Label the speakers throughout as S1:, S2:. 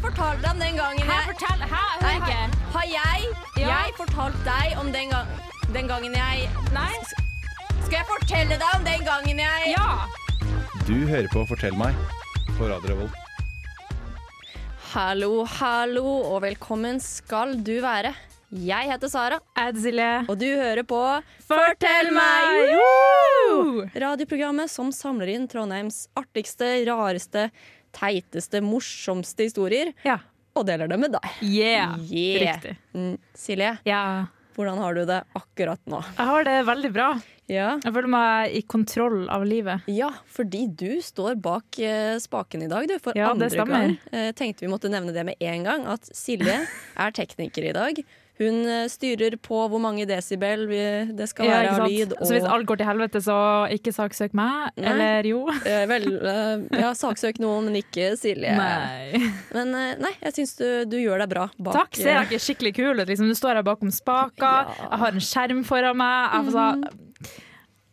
S1: fortalte deg om den gangen
S2: Hæ,
S1: jeg
S2: fortell! Hæ,
S1: Nei,
S2: hør ikke.
S1: Har jeg,
S2: Ja.
S1: jeg fortalt deg om den, gang, den gangen jeg
S2: Nei?
S1: Skal jeg fortelle deg om den gangen jeg
S2: Ja!
S3: Du hører på Fortell meg på Radio Revolt.
S1: Hallo, hallo, og velkommen skal du være. Jeg heter Sara,
S2: Edzile.
S1: og du hører på
S2: Fortell meg! Woo!
S1: Radioprogrammet som samler inn Trondheims artigste, rareste, teiteste, morsomste historier,
S2: Ja.
S1: og deler det med deg.
S2: Yeah.
S1: Yeah.
S2: Riktig.
S1: Mm, Silje,
S2: Ja.
S1: hvordan har du det akkurat nå?
S2: Jeg har det veldig bra.
S1: Ja.
S2: Jeg føler meg i kontroll av livet.
S1: Ja, fordi du står bak eh, spaken i dag, du. For
S2: Ja,
S1: andre
S2: det stemmer.
S1: gang. Eh, tenkte vi måtte nevne det med en gang, at Silje er tekniker i dag. Hun eh, styrer på hvor mange desibel vi- det skal
S2: Ja,
S1: være
S2: ikke
S1: av
S2: sant?
S1: lyd. Og,
S2: Så hvis alt går til helvete, så ikke saksøk meg.
S1: Nei.
S2: Eller jo.
S1: eh, vel, eh, ja, saksøk noen, men ikke Silje.
S2: Nei.
S1: Men eh, nei, jeg syns du, du gjør deg bra bak
S2: Takk, ser jeg ikke skikkelig kul ut? Liksom, du står her bakom spaka,
S1: Ja. Mhm.
S2: jeg har en skjerm foran meg. Jeg, altså,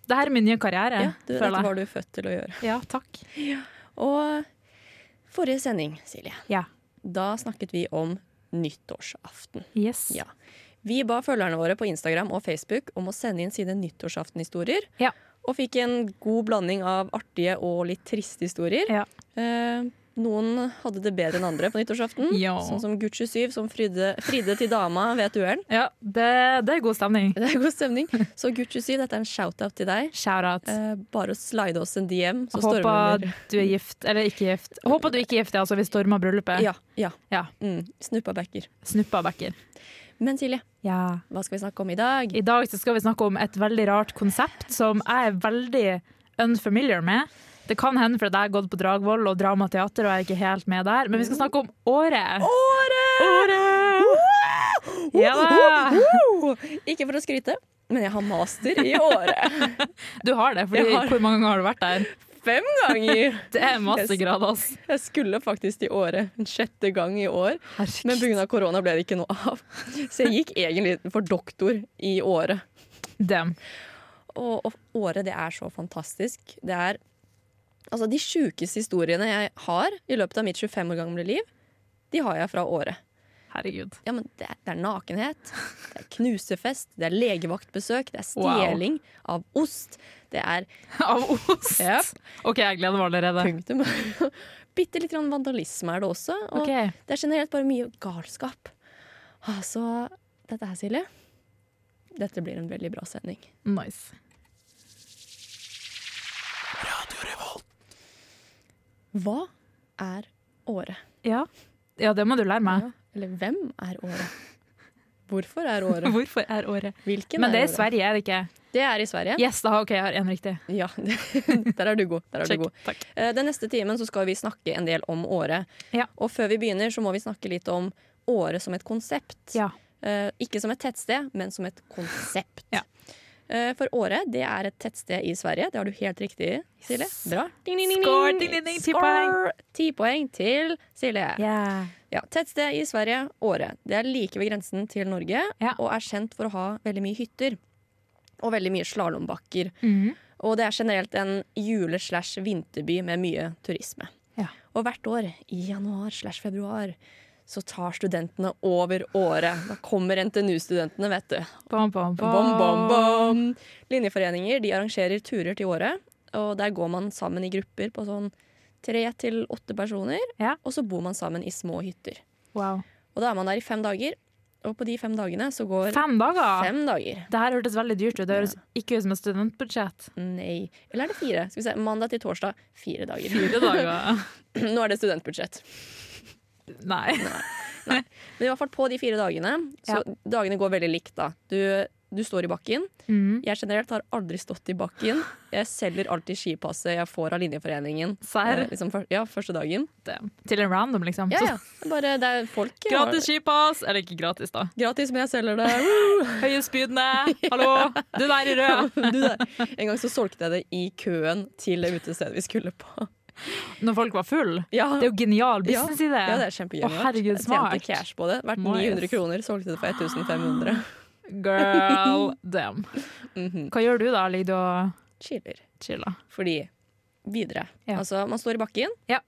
S2: det her er min nye karriere,
S1: eh, ja, du, Dette
S2: føler jeg.
S1: var du født til å gjøre.
S2: Ja, takk.
S1: Og forrige sending, Silje,
S2: Ja.
S1: da snakket vi om nyttårsaften.
S2: Yes.
S1: Ja. Vi ba følgerne våre på Instagram og Facebook om å sende inn sine nyttårsaftenhistorier.
S2: Ja.
S1: Og fikk en god blanding av artige og litt triste historier.
S2: Ja.
S1: Eh, noen hadde det bedre enn andre på nyttårsaften.
S2: Ja.
S1: Sånn som Gucci 7, som fridde, fridde til dama ved et uhell.
S2: Ja, det, det er god stemning.
S1: Det er god stemning. Så Gucci 7, dette er en shout-out til deg.
S2: Shout-out.
S1: Eh, bare å slide oss en DM, så stormer
S2: Håper
S1: vi under.
S2: du er gift, eller ikke gift. Håper du ikke er gift, ja, altså vi stormer bryllupet.
S1: Ja. ja.
S2: Ja.
S1: Mm, snuppa backer.
S2: Snuppa bekker.
S1: Men Silje,
S2: Ja.
S1: hva skal vi snakke om i dag?
S2: I dag så skal vi snakke om et veldig rart konsept som jeg er veldig unfamiliar med. Det kan hende for at jeg har gått på Dragvoll og Dramateater og jeg er ikke helt med der, men vi
S1: Mm.
S2: skal snakke om året. Året! Ja da!
S1: Wow! Ikke for å skryte, men jeg har master i året.
S2: Du har det,
S1: Jeg
S2: fordi
S1: har-
S2: hvor mange ganger har du vært der?
S1: Fem ganger!
S2: Det er masse grader, ass.
S1: Jeg skulle faktisk til året en sjette gang i år, men
S2: Herregud.
S1: pga. korona ble det ikke noe av. Så jeg gikk egentlig for doktor i året.
S2: Damn.
S1: Og, og året, det er så fantastisk. Det er Altså, de sjukeste historiene jeg har i løpet av mitt 25 år gamle liv, de har jeg fra året.
S2: Herregud.
S1: Ja, men det er, det er nakenhet, det er knusefest, det er legevaktbesøk, det er stjeling av ost, det er
S2: Av ost.
S1: Yep.
S2: OK, jeg gleder meg allerede.
S1: Punktum. Bitte litt grann vandalisme er det også. Og
S2: Ok.
S1: Det er generelt bare mye galskap. Altså, dette her, Silje Dette blir en veldig bra sending.
S2: Nice.
S1: Hva er året?
S2: Ja. ja, det må du lære meg.
S1: Eller hvem er året? Hvorfor er året?
S2: Hvorfor er året?
S1: Hvilken
S2: Men det er
S1: er
S2: i
S1: året?
S2: Sverige, er det ikke?
S1: Det er i Sverige.
S2: Yes, da, OK, jeg har én riktig.
S1: Ja, Der er du god. Der er du
S2: Check.
S1: god.
S2: Takk.
S1: Eh, Den neste timen så skal vi snakke en del om året.
S2: Ja.
S1: Og før vi begynner, så må vi snakke litt om året som et konsept.
S2: Ja.
S1: Eh, ikke som et tettsted, men som et konsept.
S2: Ja.
S1: Eh, for Åre det er et tettsted i Sverige. Det har du helt riktig, Silje. Bra. Ding, ding, ding,
S2: Score, ding, ding, ding, ti
S1: Score.
S2: poeng.
S1: Ti poeng til Silje. Ja, tettsted i Sverige, Åre. Det er like ved grensen til Norge
S2: Ja.
S1: og er kjent for å ha veldig mye hytter. Og veldig mye slalåmbakker.
S2: Mhm.
S1: Og det er generelt en jule-slash-vinterby med mye turisme.
S2: Ja.
S1: Og hvert år, i januar slash februar, så tar studentene over året. Da kommer NTNU-studentene, vet du.
S2: Bom, bom, bom.
S1: Bom, bom, bom. Linjeforeninger de arrangerer turer til året, og der går man sammen i grupper på sånn tre til åtte personer,
S2: Ja.
S1: og så bor man sammen i små hytter.
S2: Wow.
S1: Og da er man der i fem dager, og på de fem dagene så går
S2: Fem dager!
S1: fem dager.
S2: Det her hørtes veldig dyrt ut. Det høres ikke ut som et studentbudsjett.
S1: Nei. Eller er det fire? Skal vi se, Mandag til torsdag, fire dager.
S2: Fire dager?
S1: Nå er det studentbudsjett.
S2: Nei.
S1: Men i hvert fall på de fire dagene, så dagene går veldig likt da. Du, du står i bakken.
S2: Mhm.
S1: Jeg generelt har aldri stått i bakken. Jeg selger alltid skipasset jeg får av linjeforeningen.
S2: Serr?
S1: Eh, Liksom, fyr- ja, første dagen.
S2: Damn. Til en random, liksom.
S1: eh, Ja,
S2: Så-
S1: ja. Det er Bare, det er folk. jeg har-
S2: Gratis skipass! Eller ikke gratis, da.
S1: Gratis, men jeg selger det.
S2: Høyestbydende! Hallo! Du der i rød!
S1: Du der. En gang så solgte jeg det i køen til det utestedet vi skulle på.
S2: Når folk var full.
S1: Ja,
S2: Det er jo genial
S1: ja.
S2: businessidé!
S1: Ja, det er kjempegøy.
S2: Å, herregud, smart.
S1: Jeg tjente cash på det. Vært
S2: Nice. Ah.
S1: 900 kroner, solgte det for 1500.
S2: Girl, damn.
S1: Mhm.
S2: Hva gjør du da? Ligger du og
S1: Chiller.
S2: chiller?
S1: Fordi videre.
S2: Ja.
S1: Altså, man står i bakken,
S2: Ja.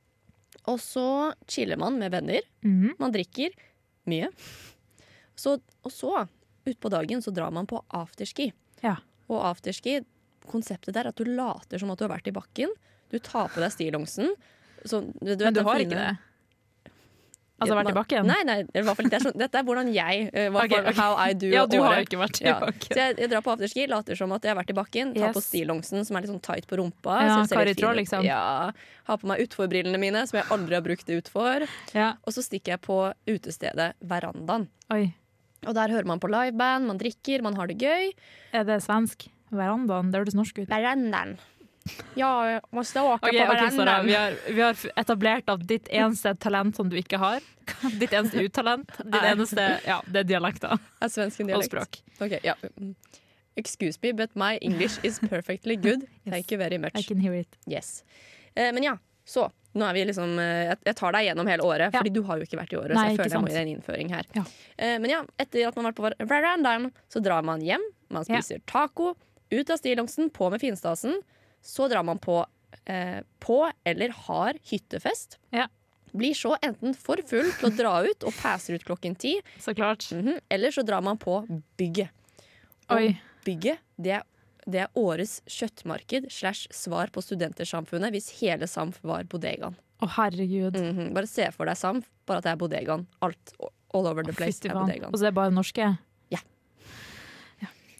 S1: Og så chiller man med venner.
S2: Mhm.
S1: Man drikker mye. Så, og så, utpå dagen, så drar man på afterski.
S2: Ja.
S1: Og afterski, konseptet der er at du later som at du har vært i bakken. Du tar på deg stillongsen. Så, du, du vet
S2: Men du
S1: den
S2: har
S1: fine-
S2: ikke det? Altså vært i
S1: Man-
S2: bakken?
S1: Nei, nei, i hvert fall, det er sånn, dette er hvordan jeg eh, hva-
S2: Ok, ok.
S1: How I do
S2: ja, du har
S1: året.
S2: ikke vært i
S1: Ja. Så
S2: bakken.
S1: jeg, jeg drar på afterski, later som at jeg har vært i bakken. Tar på
S2: Yes.
S1: stillongsen, som er litt sånn tight på rumpa.
S2: Ja,
S1: så jeg ser litt
S2: Kari Traa,
S1: fin ut.
S2: liksom.
S1: Ja, Har på meg utforbrillene mine, som jeg aldri har brukt utfor.
S2: Ja.
S1: Og så stikker jeg på utestedet Verandaen.
S2: Oi.
S1: Og der hører man på liveband, man drikker, man har det gøy.
S2: Er det svensk? Verandaen? Det hørtes norsk ut.
S1: Verandaen. Ja, må ståke
S2: Ok, ok, Sara, vi, har, vi har etablert at ditt eneste talent som du ikke har, ditt eneste utalent, ditt
S1: Er-
S2: eneste Ja, det er dialekter og
S1: Er svensk en dialekt?
S2: språk.
S1: Ok, ja. mm. Excuse me, but my English is perfectly good. Thank you very
S2: I
S1: much.
S2: can hear it.
S1: Yes. Eh, men ja, så. Nå er vi liksom, eh, jeg- jeg tar deg gjennom hele året,
S2: Ja.
S1: Fordi du har jo ikke vært i året.
S2: Nei,
S1: så jeg
S2: ikke
S1: føler jeg må
S2: sant.
S1: gi deg en innføring her.
S2: Ja.
S1: Eh, men ja, etter at man har vært på ver- verandaen, så drar man hjem. Man
S2: Ja.
S1: spiser taco. Ut av stillongsen, på med finstasen. Så drar man på, eh, på eller har hyttefest.
S2: Ja.
S1: Blir så enten for full til å dra ut og passer ut klokken ti,
S2: Så klart.
S1: mhm, eller så drar man på bygget.
S2: Oi.
S1: Bygget, det er, det er årets kjøttmarked slash svar på studentersamfunnet hvis hele Samf var bodegaen.
S2: Å, herregud.
S1: Mhm, Bare se for deg Samf, bare at det er bodegaen. Alt all over the place
S2: Fytti
S1: er
S2: faen.
S1: bodegaen.
S2: Og så er det bare norske?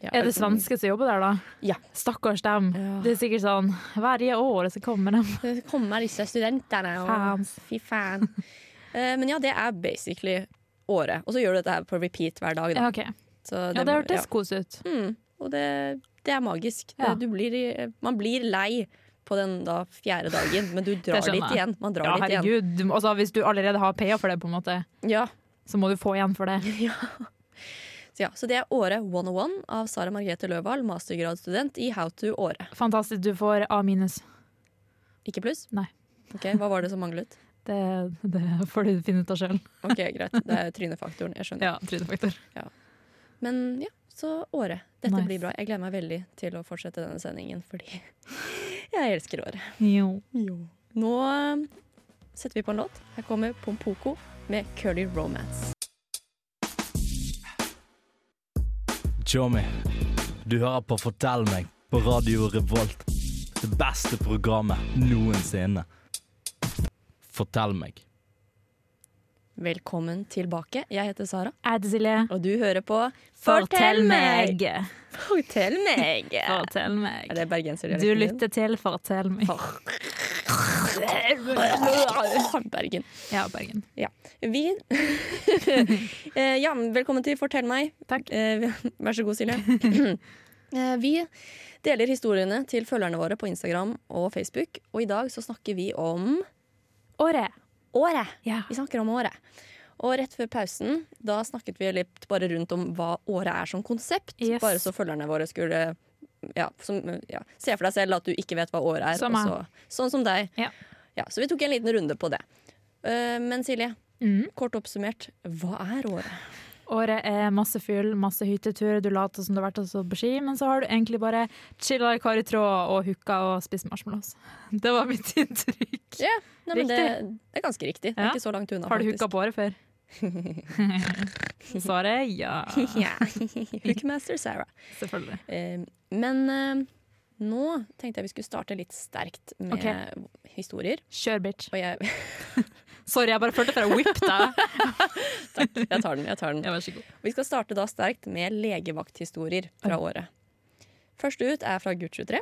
S1: Ja,
S2: Er det
S1: uten-
S2: svenske som jobber der, da?
S1: Ja.
S2: Stakkars dem.
S1: Ja.
S2: Det er sikkert sånn Hvert år så kommer de.
S1: Det kommer disse studentene og
S2: Fans.
S1: Fy faen. Eh, Men ja, det er basically året. Og så gjør du dette her på repeat hver dag, da.
S2: Ja, OK.
S1: Så
S2: Ja, det hørtes kos ut.
S1: ja. Mhm, Og det, det er magisk.
S2: Ja.
S1: Det, du blir, i- man blir lei på den da fjerde dagen, men du drar dit
S2: skjønner jeg.
S1: igjen. Man drar
S2: Ja,
S1: dit igjen.
S2: herregud. Du må- Altså, hvis du allerede har paya for det, på en måte,
S1: Ja,
S2: så må du få igjen for det.
S1: Så, ja, så det er Året 101 av Sara Margrethe Løvahl, mastergradsstudent i How to Åre.
S2: Fantastisk. Du får A minus.
S1: Ikke pluss?
S2: Nei.
S1: Ok, Hva var det som manglet?
S2: Det, det får du finne ut av sjøl.
S1: Ok, Greit. Det er trynefaktoren. Jeg skjønner.
S2: Ja, trynefaktor.
S1: Men ja, så Året. Dette
S2: Nice.
S1: blir bra. Jeg gleder meg veldig til å fortsette denne sendingen, fordi jeg elsker Året.
S2: Jo.
S1: Nå eh, setter vi på en låt. Her kommer Pompoko med 'Curly Romance'.
S4: Tjommi, du hører på Fortell meg på Radio Revolt. Det beste programmet noensinne. Fortell meg.
S1: Velkommen tilbake. Jeg heter Sara,
S2: Jeg heter Silje.
S1: og du hører på Fortell meg! Er
S2: Fortell meg.
S1: det bergenser?
S2: Du lytter til Fortell meg.
S1: Bergen.
S2: Ja, Bergen.
S1: Vi Eh, Ja, men velkommen til Fortell meg.
S2: Takk.
S1: Eh, Vær så god, Silje. Eh, Vi deler historiene til følgerne våre på Instagram og Facebook, og i dag så snakker vi om
S2: Året.
S1: året.
S2: Ja.
S1: Vi snakker om året. Og rett før pausen da snakket vi litt bare rundt om hva året er som konsept.
S2: Yes.
S1: Bare så følgerne våre skulle ja, som, ja, Se for deg selv at du ikke vet hva året er.
S2: Som
S1: og så, sånn som deg.
S2: Ja.
S1: Ja, så vi tok en liten runde på det. Eh, Men Silje,
S2: Mm.
S1: kort oppsummert, hva er året?
S2: Året er masse fyll, masse hytteturer, du later som du har vært og stått på ski, men så har du egentlig bare chilla i karitråd og hooka og spist marshmallows. Det var mitt inntrykk.
S1: Ja, nei, men det,
S2: Riktig.
S1: det er ganske riktig. Det er
S2: Ja.
S1: ikke så langt unna.
S2: Har du hooka på året før? Svaret er ja.
S1: Ja. Hookmaster Sarah.
S2: Selvfølgelig.
S1: Eh, Men eh, nå tenkte jeg vi skulle starte litt sterkt med historier.
S2: Kjør, bitch.
S1: Og jeg,
S2: Sorry, jeg bare følte for å whippe deg.
S1: jeg tar den. jeg tar den.
S2: Ja, vær så god.
S1: Vi skal starte da sterkt med legevakthistorier fra året. Første ut er fra Gucci-3.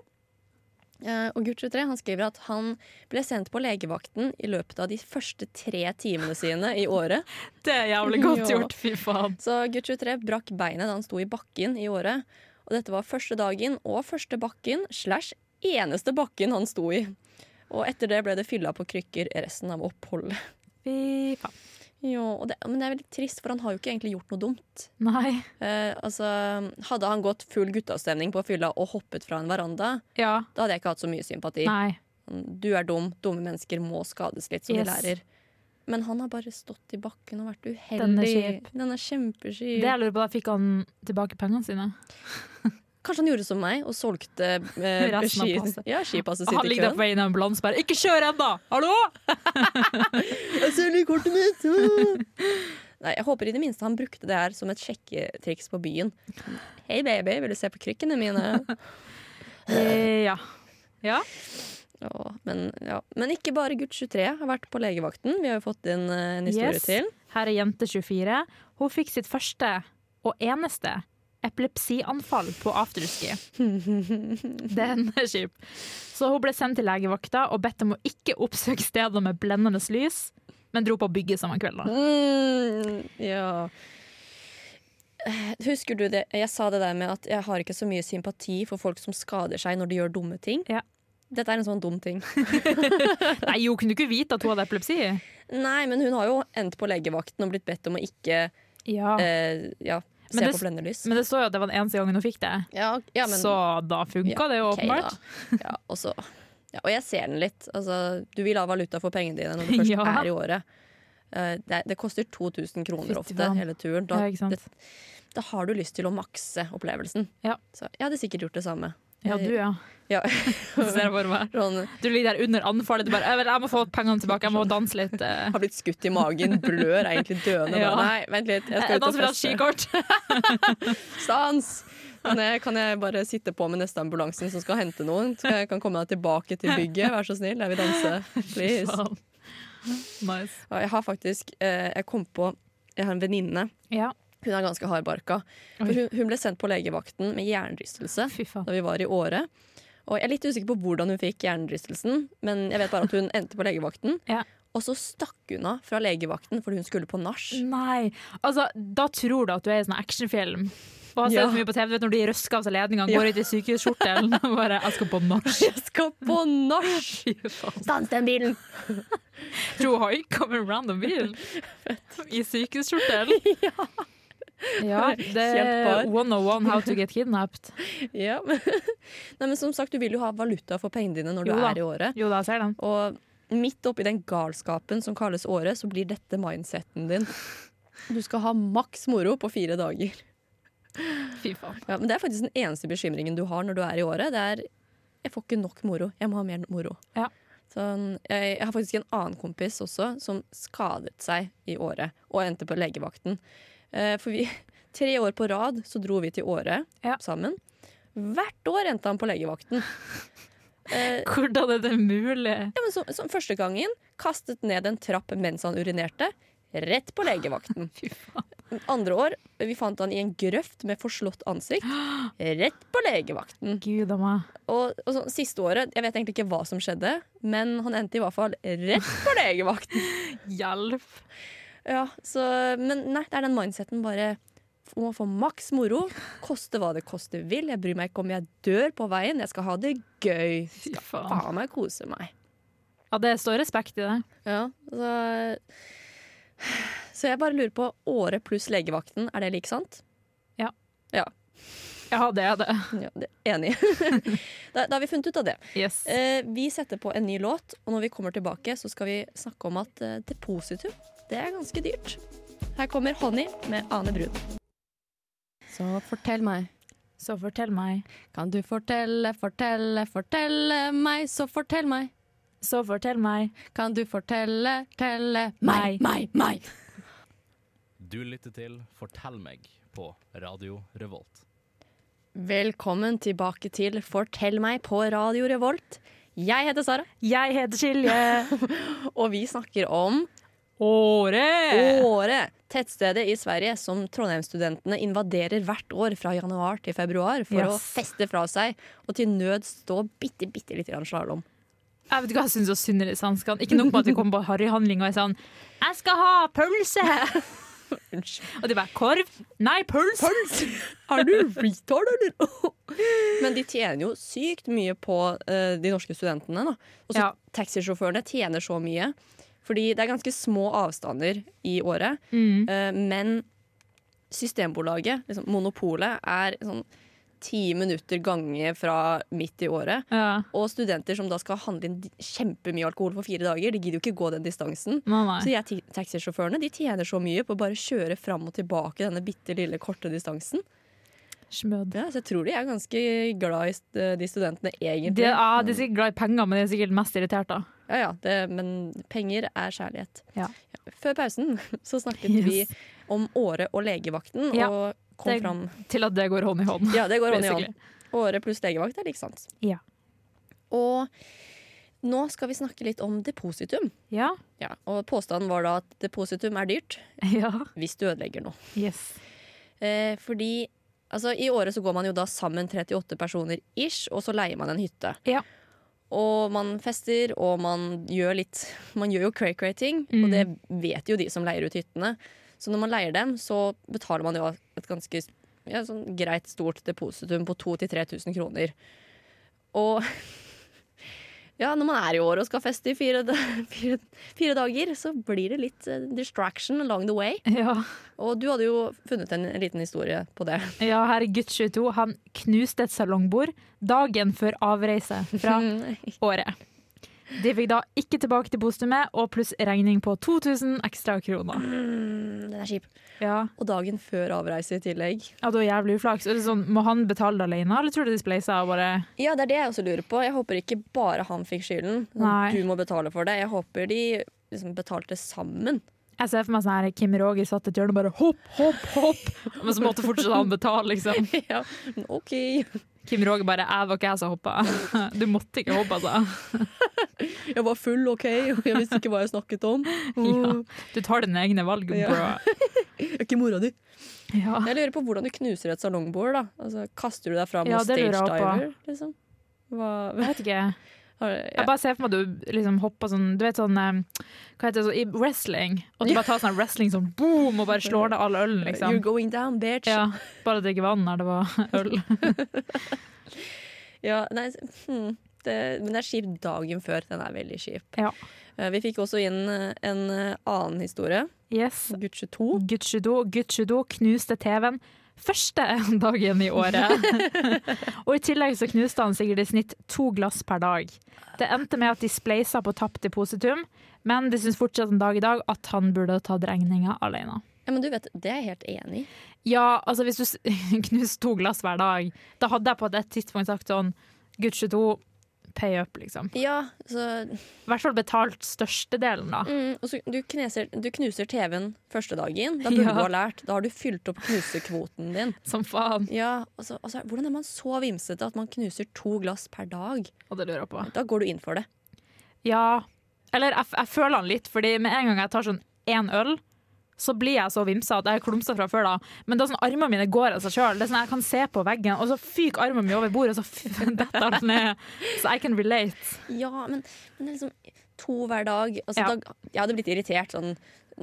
S1: Og Gucci-3 han skriver at han ble sendt på legevakten i løpet av de første tre timene sine i året.
S2: Det er jævlig godt
S1: Ja.
S2: gjort, fy faen.
S1: Så Gucci-3 brakk beinet da han sto i bakken i året. Og dette var første dagen og første bakken slash eneste bakken han sto i. Og etter det ble det fylla på krykker resten av oppholdet.
S2: Fy faen.
S1: Jo, og det, men det er veldig trist, for han har jo ikke egentlig gjort noe dumt.
S2: Nei.
S1: Eh, altså, hadde han gått full guttastemning på fylla og hoppet fra en veranda,
S2: Ja.
S1: da hadde jeg ikke hatt så mye sympati.
S2: Nei.
S1: Du er dum, dumme mennesker må skades litt, som de
S2: Yes.
S1: lærer. Men han har bare stått i bakken og vært uheldig.
S2: Den er kjip.
S1: Den er kjempeskip.
S2: Det jeg lurer på, da fikk han tilbake pengene sine?
S1: Kanskje han gjorde som meg og solgte eh,
S2: Resten av
S1: ski,
S2: passet.
S1: ja, skipasset
S2: Han
S1: sitt i
S2: ligger der på
S1: køen.
S2: vei inn i ambulansen bare 'Ikke kjør ennå! Hallo!'
S1: Jeg selger kortet mitt! Ah! Nei, Jeg håper i det minste han brukte det her som et sjekketriks på byen. Hei, baby, vil du se på krykkene mine?
S2: Eh, Ja. ja.
S1: Åh, men, ja. men ikke bare gutt 23 har vært på legevakten. Vi har jo fått inn eh, en historie
S2: Yes.
S1: til.
S2: Her er jente 24. Hun fikk sitt første og eneste epilepsianfall på afterski. Den er kjip. Så hun ble sendt til legevakta og bedt om å ikke oppsøke steder med blendende lys, men dro på bygget samme kveld. da.
S1: Mm, ja. Eh, Husker du det? Jeg sa det der med at jeg har ikke så mye sympati for folk som skader seg når de gjør dumme ting.
S2: Ja.
S1: Dette er en sånn dum ting.
S2: Nei, hun kunne ikke vite at hun hadde epilepsi.
S1: Nei, men hun har jo endt på legevakten og blitt bedt om å ikke
S2: Ja.
S1: eh, ja, se
S2: Ah. Men det-
S1: på blendelys.
S2: Men det så jo at det var den eneste gangen hun fikk det.
S1: ja, ja, men,
S2: Så da funka det jo
S1: ok,
S2: åpenbart.
S1: da. Ja, og, så, ja, og jeg ser den litt. Altså, du vil ha valuta for pengene dine når du først
S2: Ja.
S1: er i året. Eh, det, er- det koster 2000 kroner ofte,
S2: Fytti faen.
S1: hele turen. Da,
S2: Ja, ikke sant?
S1: det, da har du lyst til å makse opplevelsen.
S2: Ja.
S1: Så jeg hadde sikkert gjort det samme.
S2: Ja, du, ja.
S1: Ja.
S2: Ser jeg for meg.
S1: Sånn,
S2: Du ligger der under anfallet. Du bare «Jeg vil- 'Jeg må få pengene tilbake, jeg må danse litt'. eh.
S1: har blitt skutt i magen, blør, er egentlig døende.
S2: Ja.
S1: Bare, Nei, vent litt, jeg skal
S2: Jeg
S1: ut og
S2: danser fra et
S1: feste.
S2: skikort.
S1: Stans! Men jeg, kan jeg bare sitte på med neste ambulansen som skal hente noen? Så jeg kan komme meg tilbake til bygget, vær så snill, jeg vil danse. Please.
S2: Faen. Nice.
S1: Og Jeg har faktisk, eh, jeg kom på Jeg har en venninne,
S2: Ja,
S1: hun er ganske hardbarka For
S2: Oi.
S1: hun, hun ble sendt på legevakten med hjernerystelse
S2: fy faen.
S1: Da vi var i året Og jeg er litt usikker på hvordan hun fikk hjernerystelsen Men jeg vet bare at hun endte på legevakten
S2: Ja.
S1: Og så stakk hun av fra legevakten Fordi hun skulle på nars
S2: Mm. Nei. Altså, da tror du at du er i sånn actionfilm. Og har sett
S1: Ja.
S2: så mye på TV, du vet når de røsker av seg ledningene,
S1: Ja.
S2: går ut i sykehusskjortelen og bare 'Jeg skal på nach'.
S1: Jeg skal på nars
S2: Fy faen.
S1: Stans den bilen
S2: Tror hun haika med en random bil i sykehusskjortelen. Ja. det
S1: Kjent
S2: er
S1: par.
S2: 101 how to get kidnapped.
S1: ja. men- Nei, men som sagt, du vil jo ha valuta for pengene dine Når du
S2: Jo da.
S1: er i året
S2: Jo da, jeg ser den.
S1: Og midt oppi den galskapen som kalles året Så blir dette mindseten din Du skal ha maks moro på fire dager
S2: Fy faen.
S1: Ja, men Det er faktisk den eneste bekymringen du har når du er i året. Det er jeg får ikke nok moro. Jeg må ha mer moro.
S2: Ja.
S1: Sånn, jeg, jeg har faktisk en annen kompis også som skadet seg i året og endte på legevakten. Eh, for vi, tre år på rad så dro vi til Året
S2: Ja.
S1: sammen. Hvert år endte han på legevakten. Eh,
S2: Hvordan er det mulig?
S1: ja, men så, så første gangen kastet ned en trapp mens han urinerte. Rett på legevakten.
S2: Fy faen.
S1: Andre år vi fant han i en grøft med forslått ansikt. Rett på legevakten.
S2: Gud a meg.
S1: Og, og så, siste året, jeg vet egentlig ikke hva som skjedde, men han endte i hvert fall rett på legevakten.
S2: Hjelp.
S1: Ja, så, men nei, det er den mindseten bare f- må få maks moro, koste hva det koste vil. Jeg bryr meg ikke om jeg dør på veien, jeg skal ha det gøy.
S2: Fy faen.
S1: Faen meg kose meg.
S2: Ja, det står respekt i det.
S1: Ja, så, så jeg bare lurer på, året pluss legevakten, er det like sant?
S2: Ja, det er det.
S1: Ja, det, enig. da, da har vi funnet ut av det.
S2: Yes.
S1: Eh, vi setter på en ny låt, og når vi kommer tilbake, så skal vi snakke om at eh, depositum det er ganske dyrt. Her kommer Honey med Ane Brun.
S5: Så fortell meg.
S2: Så fortell meg.
S5: Kan du fortelle, fortelle, fortelle meg, så fortell meg.
S2: Så fortell meg.
S5: Kan du fortelle, telle
S2: Meg.
S5: meg, meg, meg.
S4: Du lytter til Fortell meg på Radio Revolt.
S1: Velkommen tilbake til Fortell meg på Radio Revolt. Jeg heter Sara,
S2: Jeg heter Silje.
S1: og vi snakker om
S2: Åre!
S1: Åre, tettstedet i Sverige som Trondheimsstudentene invaderer hvert år fra januar til februar for å
S2: Yes.
S1: feste fra seg og til nød stå bitte, bitte litt slalåm.
S2: Jeg vet ikke hva jeg syns om Synnøve Sandskand. Ikke nok med at vi kommer på harryhandling og er sånn 'Jeg skal ha pølse!'
S1: Unnskyld.
S2: Og de bare 'Korv'? Nei, pølse!
S1: Er du retard, eller? Men de tjener jo sykt mye på eh, de norske studentene. da. Og så
S2: Ja.
S1: taxisjåførene tjener så mye. Fordi det er ganske små avstander i året.
S2: Mm.
S1: eh, men Systembolaget, liksom monopolet, er sånn ti minutter gange fra midt i året.
S2: Ja.
S1: Og studenter som da skal handle inn kjempemye alkohol for fire dager, de gidder jo ikke gå den distansen.
S2: Nei,
S1: Så
S2: nei.
S1: jeg, ti- taxisjåførene de tjener så mye på å bare kjøre fram og tilbake denne bitte lille korte distansen.
S2: Smød.
S1: Ja, så jeg tror de er ganske glad i st- de studentene, egentlig.
S2: De, ja, de er sikkert glad i penger, men de er sikkert mest irritert, da.
S1: Ja, ja, det, men penger er kjærlighet.
S2: Ja.
S1: Før pausen så snakket
S2: Yes.
S1: vi om Åre og legevakten,
S2: Ja,
S1: og kom
S2: det-
S1: fram
S2: Til at det går hånd i hånd.
S1: Ja, det går hånd i
S2: basically.
S1: hånd. Åre pluss legevakt er lik sans.
S2: Ja.
S1: Og nå skal vi snakke litt om depositum.
S2: Ja.
S1: Ja, og påstanden var da at depositum er dyrt
S2: ja.
S1: hvis du ødelegger noe.
S2: Yes.
S1: Eh, fordi altså, i året så går man jo da sammen 38 personer ish, og så leier man en hytte.
S2: Ja.
S1: Og man fester, og man gjør litt Man gjør jo cray-cray ting, og
S2: Mm.
S1: det vet jo de som leier ut hyttene. Så når man leier dem, så betaler man jo et ganske ja, sånn greit stort depositum på 2000-3000 kroner. Og ja, når man er i år og skal feste i fire, da- fire, fire dager, så blir det litt eh, distraction along the way.
S2: Ja.
S1: Og du hadde jo funnet en liten historie på det.
S2: ja, her er gutt 22. Han knuste et salongbord dagen før avreise fra
S1: Mm.
S2: året. De fikk da ikke tilbake til bostømmet, og pluss regning på 2000 ekstra kroner.
S1: Mm, den er kjip.
S2: Ja,
S1: Og dagen før avreise i tillegg.
S2: ja det var jævlig uflaks. Og det er sånn, må han betale det alene, eller tror du de spleisa og bare
S1: Ja, det er det jeg også lurer på. Jeg håper ikke bare han fikk skylden.
S2: Nei.
S1: Du må betale for det. Jeg håper de liksom betalte sammen.
S2: Jeg ser for meg sånn her Kim Roger satt i et hjørne og bare hopp, hopp, hopp. Men så måtte fortsatt han betale, liksom.
S1: ja, men OK.
S2: Kim Roger bare 'jeg var ikke jeg som hoppa'. Du måtte ikke hoppe, altså.
S1: Jeg var full, OK, og jeg visste ikke hva jeg snakket om.
S2: Ja. Du tar dine egne valg,
S1: Ja.
S2: bro.
S1: Jeg er ikke mora di.
S2: Ja.
S1: Jeg lurer på hvordan du knuser et salongbord. da. Altså, Kaster du deg fram
S2: Ja,
S1: og
S2: det lurer
S1: stage
S2: jeg også på.
S1: diver? Liksom? Hva,
S2: Jeg vet ikke.
S1: har,
S2: Jeg
S1: ja.
S2: bare ser for meg at du liksom hopper sånn Du vet sånn eh, Hva heter det sånn i wrestling? At du bare tar sånn wrestling sånn boom, og bare slår ned all ølen,
S1: You're
S2: liksom.
S1: going down, bitch.
S2: Ja, bare drikke vann når det var øl.
S1: Ja, nei, hmm, det, men det er kjip dagen før. Den er veldig kjip.
S2: Ja.
S1: Eh, Vi fikk også inn eh, en eh, annen historie.
S2: Yes.
S1: Gutt 22.
S2: Guccido, Guccido knuste TV-en første dagen i året. og i tillegg så knuste han sikkert i snitt to glass per dag. Det endte med at de spleisa på tapt depositum, men de syns fortsatt en dag i dag at han burde ha tatt regninga alene.
S1: Ja, men du vet, Det er jeg helt enig i.
S2: Ja, altså hvis du s- knuser to glass hver dag, da hadde jeg på et tidspunkt sagt sånn Guccido, pay up, liksom.
S1: Ja, så,
S2: I hvert fall betalt størstedelen, da.
S1: mm, og så du, kneser, du knuser TV-en første dagen. Da burde
S2: Ja.
S1: du ha lært. Da har du fylt opp knusekvoten din.
S2: Som faen.
S1: Ja, og så- og så- Hvordan er man så vimsete at man knuser to glass per dag?
S2: Og det lurer jeg på.
S1: Da går du inn for det.
S2: Ja. Eller jeg, jeg føler han litt, fordi med en gang jeg tar sånn én øl, så blir jeg så vimsa at jeg er klumsa fra før da. Men da sånn armene mine går av seg sjøl. Sånn, jeg kan se på veggen, og så fyker armene mine over bordet, og så f- detter alt ned. Så I can relate.
S1: Ja, men, men det er liksom to hver dag. Altså,
S2: Ja.
S1: da, jeg hadde blitt irritert sånn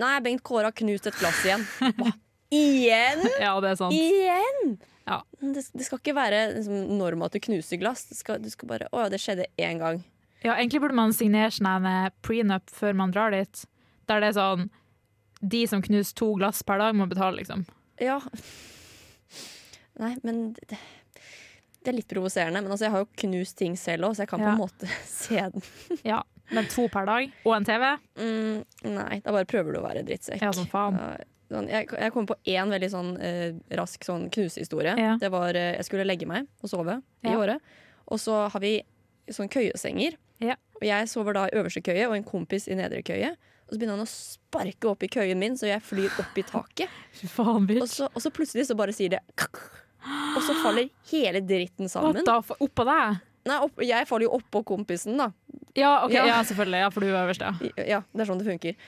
S1: Nei, Bengt Kåre har knust et glass igjen. Hva? Igjen?
S2: Ja, det er sant.
S1: Igjen?
S2: Ja.
S1: Men Det, det skal ikke være liksom, norm at du knuser glass. Det skal, du skal bare Å ja, det skjedde én gang.
S2: Ja, egentlig burde man signere sånn en prenup før man drar dit, der det er sånn de som knuser to glass per dag, må betale, liksom.
S1: Ja. Nei, men det, det er litt provoserende. Men altså, jeg har jo knust ting selv òg, så jeg kan på
S2: Ja.
S1: en måte se den.
S2: Ja, Men to per dag og en TV?
S1: Mm, nei, da bare prøver du å være drittsekk.
S2: Ja, som faen.
S1: Ja, Sånn, jeg, jeg kom på én veldig sånn eh, rask sånn knusehistorie.
S2: Ja.
S1: Det var eh, Jeg skulle legge meg og sove i
S2: Ja.
S1: året. Og så har vi sånn køyesenger.
S2: Ja.
S1: Og jeg sover da i øverste køye og en kompis i nedre køye. Og så begynner han å sparke opp i køyen min, så jeg flyr opp i taket.
S2: Fy faen,
S1: Og
S2: bitch.
S1: så, og så plutselig så bare sier det kakk. Og så faller hele dritten
S2: What
S1: sammen.
S2: the f... Oppå deg?
S1: Nei, opp, jeg faller jo oppå kompisen, da.
S2: Ja, ok,
S1: Ja.
S2: ja. selvfølgelig. Ja, for du er øverst, ja.
S1: Ja, det er sånn det funker.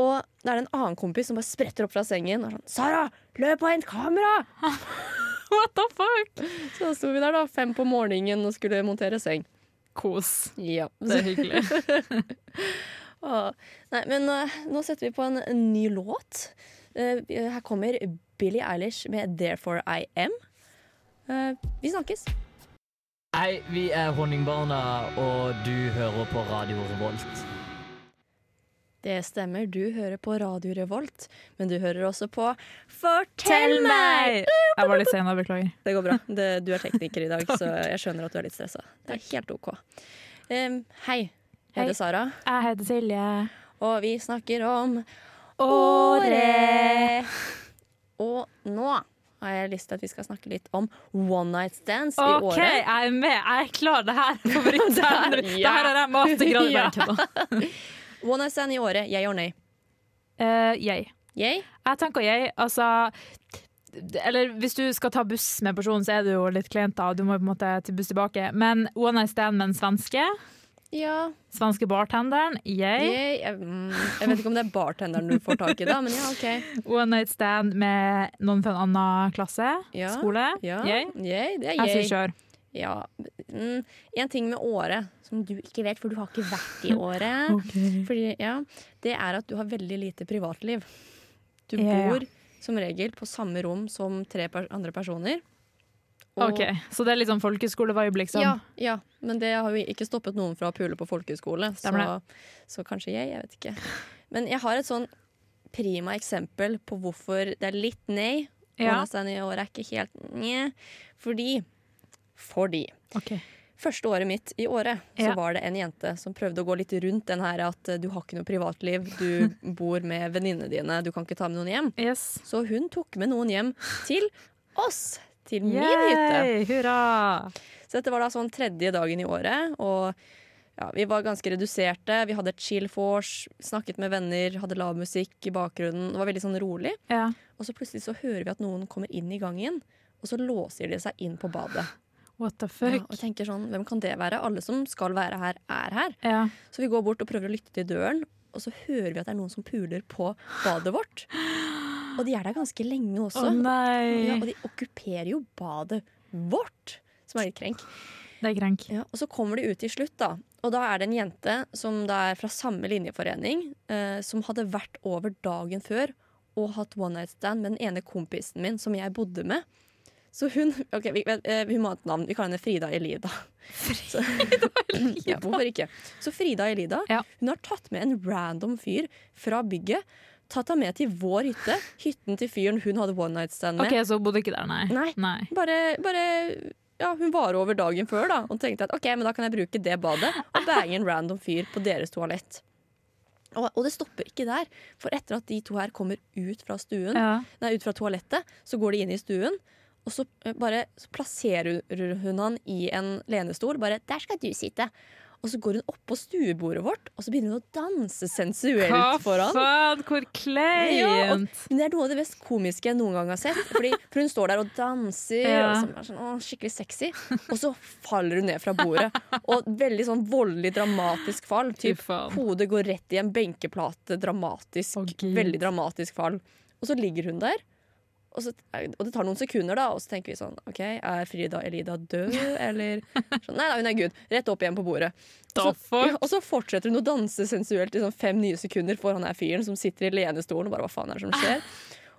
S1: Og da er det en annen kompis som bare spretter opp fra sengen og er sånn 'Sara, løp og hent kamera!'
S2: What the fuck?
S1: Så da sto vi der da, fem på morgenen og skulle montere seng.
S2: Kos.
S1: Ja.
S2: Det er hyggelig.
S1: Åh. Nei, men eh, nå setter vi på en, en ny låt. Eh, her kommer Billie Eilish med 'Therefore I Am'. Eh, vi snakkes.
S6: Hei, vi er Honningbarna, og du hører på Radio Revolt.
S1: Det stemmer, du hører på Radio Revolt, men du hører også på Fortell meg!
S2: Jeg var litt sen, jeg beklager.
S1: Det går bra. Det, du er tekniker i dag, så jeg skjønner at du er litt stressa. Det er helt OK. Em, hei. Jeg
S2: Hei.
S1: heter Sara,
S2: Jeg heter Silje.
S1: og vi snakker om
S2: Åre!
S1: Og nå har jeg lyst til at vi skal snakke litt om one night stands i
S2: OK,
S1: året.
S2: jeg er med. Jeg er klar. Det her er favoritten.
S1: Der,
S2: Det
S1: ja.
S2: her har jeg mastergrad i.
S1: Ja.
S2: Ja.
S1: One night stand i året, yay or nay?
S2: Eh, jeg.
S1: Yay?
S2: Jeg tenker jeg, altså eller hvis du skal ta buss med personen, så er det jo litt kleint, da. Du må på en måte til buss tilbake. Men One Night Stand med en svenske.
S1: Ja.
S2: Svenske bartenderen, yay.
S1: Yay. Jeg, mm, jeg vet ikke om det er bartenderen du får tak i da, men ja, OK.
S2: One Night Stand med noen fra en annen klasse,
S1: Ja.
S2: skole,
S1: Ja.
S2: yay.
S1: Yay, det er
S2: Jeg
S1: yay.
S2: sier kjør.
S1: Ja. Mm, en ting med året som du ikke vet, for du har ikke vært i året, fordi, ja, det er at du har veldig lite privatliv. Du
S2: Ja, ja.
S1: bor som regel på samme rom som tre per andre personer. Og-
S2: Ok, Så det er litt sånn folkeskolevibe, liksom?
S1: Ja, ja, men det har jo ikke stoppet noen fra å pule på folkehøyskole. Så,
S2: Stemmer
S1: så kanskje jeg, jeg vet ikke. Men jeg har et sånn prima eksempel på hvorfor det er litt nei.
S2: Ja.
S1: Ja. i år er ikke helt nye. Fordi Fordi
S2: Ok.
S1: første året mitt i året
S2: Ja.
S1: så var det en jente som prøvde å gå litt rundt den her at eh, du har ikke noe privatliv, du bor med venninnene dine, du kan ikke ta med noen hjem.
S2: Yes.
S1: Så hun tok med noen hjem til oss. Til min hytte.
S2: Yay, hurra!
S1: Så dette var da sånn tredje dagen i året, og ja, vi var ganske reduserte. Vi hadde et chill force, snakket med venner, hadde lav musikk i bakgrunnen. Det var veldig sånn rolig.
S2: Ja.
S1: Og så plutselig så hører vi at noen kommer inn i gangen, og så låser de seg inn på badet.
S2: What the
S1: Ja,
S2: fuck?
S1: og tenker sånn, hvem kan det være? Alle som skal være her, er her.
S2: Ja.
S1: Så vi går bort og prøver å lytte til døren, og så hører vi at det er noen som puler på badet vårt. Og de er der ganske lenge
S2: Å
S1: også. ja, og
S2: nei!
S1: de okkuperer jo badet vårt, som er litt krenk.
S2: Det er krenk.
S1: Ja, og så kommer de ut til slutt, da. Og da er det en jente som da er fra samme linjeforening, eh, som hadde vært over dagen før og hatt one night stand med den ene kompisen min som jeg bodde med. Så hun ok, vi, vel, eh, Hun må ha et navn. Vi kaller henne Frida Elida. Frida Elida? ja, hvorfor ikke? Så Frida Elida
S2: Ja.
S1: hun har tatt med en random fyr fra bygget. Tatt ham med til vår hytte. Hytten til fyren hun hadde one night stand med.
S2: OK, så hun bodde ikke der, nei?
S1: Nei. Bare, bare ja, Hun var over dagen før da og tenkte at ok, men da kan jeg bruke det badet og bange en random fyr på deres toalett. Og, og det stopper ikke der, for etter at de to her kommer ut fra, stuen,
S2: Ja.
S1: nei, ut fra toalettet, så går de inn i stuen. Og så eh, bare så plasserer hun han i en lenestol. Bare 'der skal du sitte'. Og så går hun opp på stuebordet vårt, og så begynner hun å danse
S2: Hva
S1: sensuelt foran.
S2: faen, hvor
S1: Ja, og-
S2: kleint!
S1: Men det er noe av det mest komiske jeg noen gang har sett. Fordi, for hun står der og danser,
S2: Ja.
S1: og liksom er sånn, å, skikkelig sexy. Og så faller hun ned fra bordet. Og veldig sånn voldelig, dramatisk fall. Typ,
S2: Fy faen.
S1: hodet går rett i en benkeplate. Dramatisk.
S2: Å, Gud.
S1: veldig dramatisk fall. Og så ligger hun der. Og, så, og det tar noen sekunder, da, og så tenker vi sånn OK, er Frida Elida død, eller sånn, Nei da, hun er good. Rett opp igjen på bordet.
S2: Da
S1: Så, ja,
S2: fuck?
S1: og så fortsetter hun å danse sensuelt i sånn fem nye sekunder for han her fyren som sitter i lenestolen og bare hva faen er det som
S2: Ah.
S1: skjer?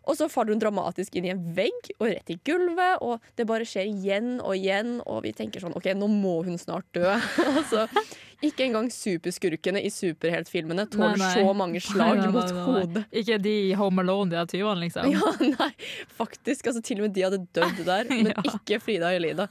S1: Og så faller hun dramatisk inn i en vegg og rett i gulvet, og det bare skjer igjen og igjen, og vi tenker sånn OK, nå må hun snart dø. altså, ikke engang superskurkene i superheltfilmene tåler
S2: Nei, nei.
S1: så mange slag
S2: Nei, nei, nei,
S1: mot
S2: nei, nei.
S1: hodet.
S2: Ikke de i Home Alone, de der tyvene, liksom?
S1: Ja, nei, faktisk. Altså, til og med de hadde dødd der, men
S2: Ja.
S1: ikke Frida og Elida.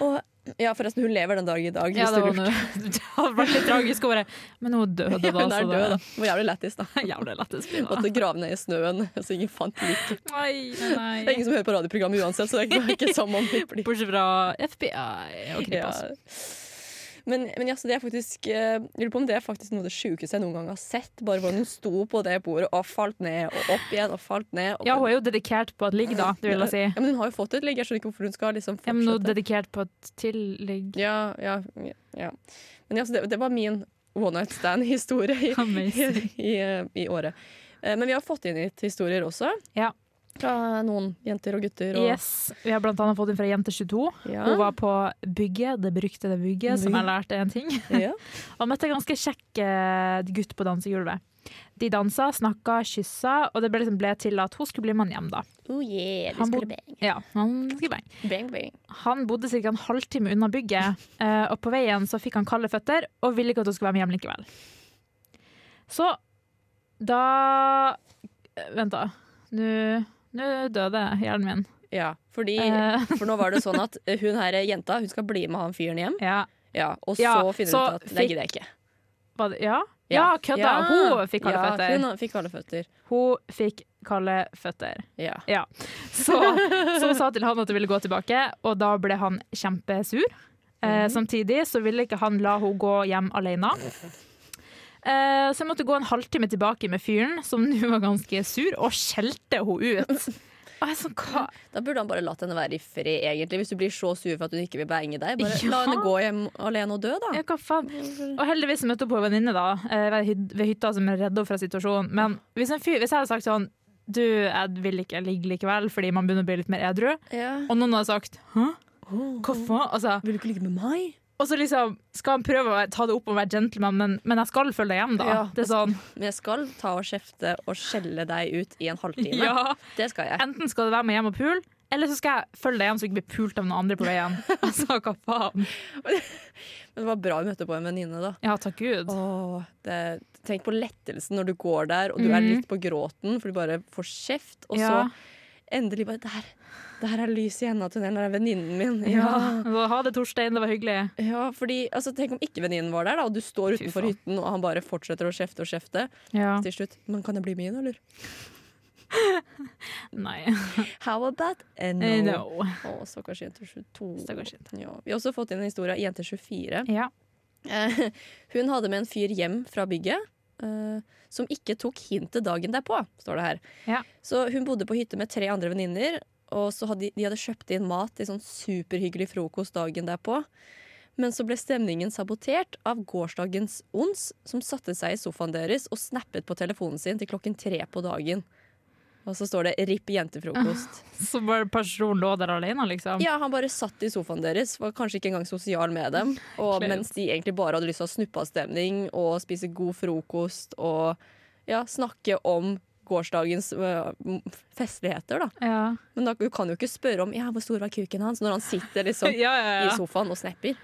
S1: Og ja, forresten, hun lever den dag i dag.
S2: Ja,
S1: hvis
S2: det
S1: du
S2: var
S1: lurte.
S2: noe- det hadde vært litt tragisk å bare Men hun døde,
S1: Ja, hun
S2: da.
S1: er
S2: så
S1: død, da.
S2: det-
S1: Det var jævlig lættis, da.
S2: Jævlig lættis.
S1: Måtte grave ned i snøen, så ingen fant liket.
S2: Nei, nei,
S1: Det er
S2: nei.
S1: ingen som hører på radioprogrammet uansett, så det er ikke som om vi blir
S2: Bortsett fra FBI
S1: ja.
S2: og Kripos.
S1: Men, men ja, så det er faktisk eh, Jeg lurer på om det er faktisk noe av det sjukeste jeg noen gang har sett. Bare hvordan hun sto på det bordet og falt ned og opp igjen og falt ned. Og
S2: Ja, hun er jo dedikert på et ligg, da, det vil jeg si.
S1: Ja, men hun har jo fått et ligg, jeg skjønner ikke hvorfor hun skal liksom
S2: Ja, men hun er
S1: fortsette.
S2: dedikert på et til ligg.
S1: Ja, ja, ja, Men ja, så det, det var min one night stand-historie i, i,
S2: Amazing.
S1: i, eh, i året. Eh, Men vi har fått inn litt historier også.
S2: Ja.
S1: Fra noen jenter og gutter. Og,
S2: Yes. Vi har blant annet fått inn fra Jente22.
S1: Ja.
S2: Hun var på bygget, det beryktede bygget, som jeg lærte en ting.
S1: Ja.
S2: Og møtte en ganske kjekk eh, gutt på dansegulvet. De dansa, snakka, kyssa, og det ble, liksom ble til at hun skulle bli med han hjem, da.
S1: Oh yeah, vi
S2: Han
S1: skulle
S2: bod-
S1: bang.
S2: Ja, han, skulle bang.
S1: Bang, bang.
S2: han bodde ca. en halvtime unna bygget, eh, og på veien så fikk han kalde føtter og ville ikke at hun skulle være med hjem likevel. Så da eh, Vent, da. Nå nå døde hjernen min.
S1: Ja, fordi,
S2: Eh.
S1: for nå var det sånn at hun her eh, jenta hun skal bli med han fyren hjem,
S2: Ja.
S1: ja, og så
S2: Ja,
S1: finner
S2: så
S1: hun ut at det
S2: fikk-
S1: gidder jeg ikke.
S2: Var det, ja? ja, kødda! Hun fikk kalde
S1: Ja,
S2: føtter.
S1: Hun fikk kalde føtter.
S2: Hun fikk kalde føtter.
S1: Ja.
S2: Så, så hun sa til han at hun ville gå tilbake, og da ble han kjempesur. Eh, samtidig så ville ikke han la henne gå hjem alene. Eh, så jeg måtte gå en halvtime tilbake med fyren, som nå var ganske sur, og skjelte henne ut. Og jeg sånn, hva?
S1: Da burde han bare latt henne være i fred, egentlig. Hvis du blir så sur for at hun ikke vil beinge deg, bare
S2: Ja.
S1: la henne gå hjem alene og dø, da.
S2: Ja, hva faen? Og heldigvis møtte hun på en venninne da, eh, ved hyt- ved hytta som er redda henne fra situasjonen. Men hvis, en fyr, hvis jeg hadde sagt sånn Du, jeg vil ikke ligge likevel, fordi man begynner å bli litt mer edru. Og noen hadde sagt Hæ? Hvorfor? Altså,
S1: Vil du ikke ligge med meg?
S2: og så liksom skal han prøve å være- ta det opp og være gentleman, men, men jeg skal følge deg hjem, da.
S1: Ja.
S2: Det er sånn,
S1: Men jeg skal ta og kjefte og skjelle deg ut i en halvtime.
S2: ja.
S1: Det skal jeg.
S2: Enten skal du være med hjem og pule, eller så skal jeg følge deg hjem så du ikke blir pult av noen andre på veien. Altså, hva faen?
S1: Men det var bra vi møtte på en venninne, da.
S2: Ja, takk Gud.
S1: Åh, det, tenk på lettelsen når du går der, og du er
S2: Mhm.
S1: litt på gråten, for du bare får kjeft, og
S2: Ja.
S1: så endelig bare Der, der er lyset i enden av tunnelen, der er venninnen min.
S2: Ja. Så Ha det, Torstein. Det var hyggelig.
S1: Ja, fordi, altså, Tenk om ikke venninnen var der, da, og du står
S2: Fy
S1: utenfor
S2: faen.
S1: hytten, og han bare fortsetter å kjefte og kjefte.
S2: Ja.
S1: Til slutt Men kan jeg bli med inn, eller?
S2: Nei.
S1: How about a no?
S2: Eh, No.
S1: Å, stakkars jente 22.
S2: Stakkars jente.
S1: Ja. Vi har også fått inn en historie av jente 24.
S2: Ja.
S1: Eh, hun hadde med en fyr hjem fra bygget. eh, som ikke tok hintet dagen derpå, står det her.
S2: Ja.
S1: Så hun bodde på hytte med tre andre venninner, og så hadde, de hadde kjøpt inn mat til sånn superhyggelig frokost dagen derpå. Men så ble stemningen sabotert av gårsdagens ons, som satte seg i sofaen deres og snappet på telefonen sin til klokken tre på dagen. Og så står det 'ripp jentefrokost'.
S2: Så bare personen lå der alene, liksom?
S1: Ja, han bare satt i sofaen deres, var kanskje ikke engang sosial med dem. Og
S2: Kleint.
S1: mens de egentlig bare hadde lyst til å ha snuppavstemning og spise god frokost og ja, snakke om gårsdagens øh, m- festligheter, da.
S2: Ja.
S1: Men da, du kan jo ikke spørre om ja, hvor stor var kuken hans, når han sitter liksom
S2: ja, ja,
S1: i
S2: ja.
S1: sofaen og snapper.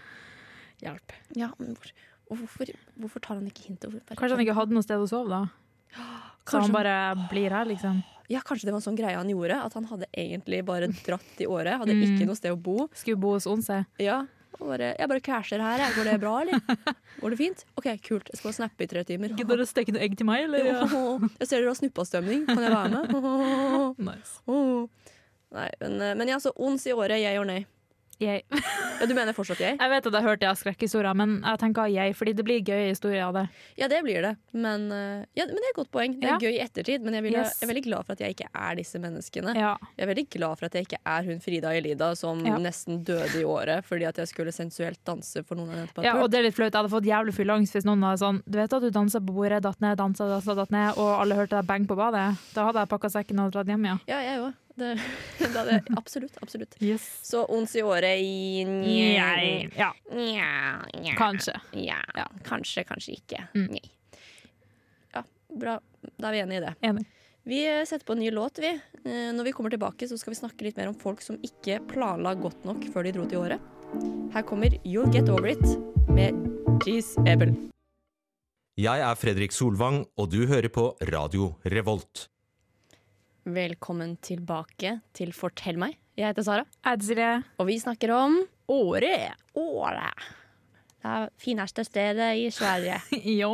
S2: Hjelp.
S1: Ja, men hvor, og hvorfor, hvorfor tar han ikke hintet? Hvorfor-
S2: Kanskje han ikke hadde noe sted å sove, da? Så
S1: Kanskje
S2: han bare blir her, liksom?
S1: Ja, kanskje det var en sånn greie han gjorde, at han hadde egentlig bare dratt i året. Hadde
S2: Mm.
S1: ikke noe sted å bo.
S2: Skulle bo hos Onse.
S1: Ja. Og bare, jeg bare casher her. Jeg. Går det bra, eller? Går det fint? OK, kult. Jeg skal snappe i tre timer.
S2: Gidder du å steke noe egg til meg, eller?
S1: Jeg ser dere har snuppastømning. Kan jeg være med?
S2: Nice.
S1: Nei, men, eh, men ja, så ons i året, jeg or nei.
S2: Jeg.
S1: Ja, Du mener fortsatt jeg?
S2: jeg vet at jeg hørte jeg har skrekkhistorier, men jeg tenker jeg, fordi det blir gøye historier av det.
S1: Ja, det blir det. Men, eh, ja, men det er et godt poeng. Det er
S2: Ja.
S1: gøy i ettertid, men jeg, vil,
S2: Yes.
S1: jeg er veldig glad for at jeg ikke er disse menneskene.
S2: Ja.
S1: Jeg er veldig glad for at jeg ikke er hun Frida Elida som
S2: Ja.
S1: nesten døde i året fordi at jeg skulle sensuelt danse for noen av jentene på en
S2: ja, og
S1: pub.
S2: det er litt flaut. Jeg hadde fått jævlig fylleangst hvis noen hadde sånn Du vet at du dansa på bordet, datt ned, dansa, dansa, datt ned, og alle hørte deg bang på badet? Da hadde jeg pakka sekken og dratt hjem, ja.
S1: Ja, jeg òg. Det, det hadde jeg absolutt. Absolutt.
S2: Yes.
S1: Så ons i året i
S2: Jeg. Ja,
S1: Nja, nja.
S2: kanskje.
S1: Ja. Kanskje, kanskje ikke.
S2: Mm.
S1: Nei. Ja, bra. Da er vi enige i det.
S2: Enig.
S1: Vi eh, setter på en ny låt, vi. Eh, Når vi kommer tilbake, så skal vi snakke litt mer om folk som ikke planla godt nok før de dro til året. Her kommer You'll Get Over It med Jeez Ebel.
S7: Jeg er Fredrik Solvang, og du hører på Radio Revolt.
S1: Velkommen tilbake til Fortell meg. Jeg heter Sara,
S2: Jeg heter Silje.
S1: og vi snakker om
S2: Åre.
S1: året. Det er fineste stedet i Sverige.
S2: Ja.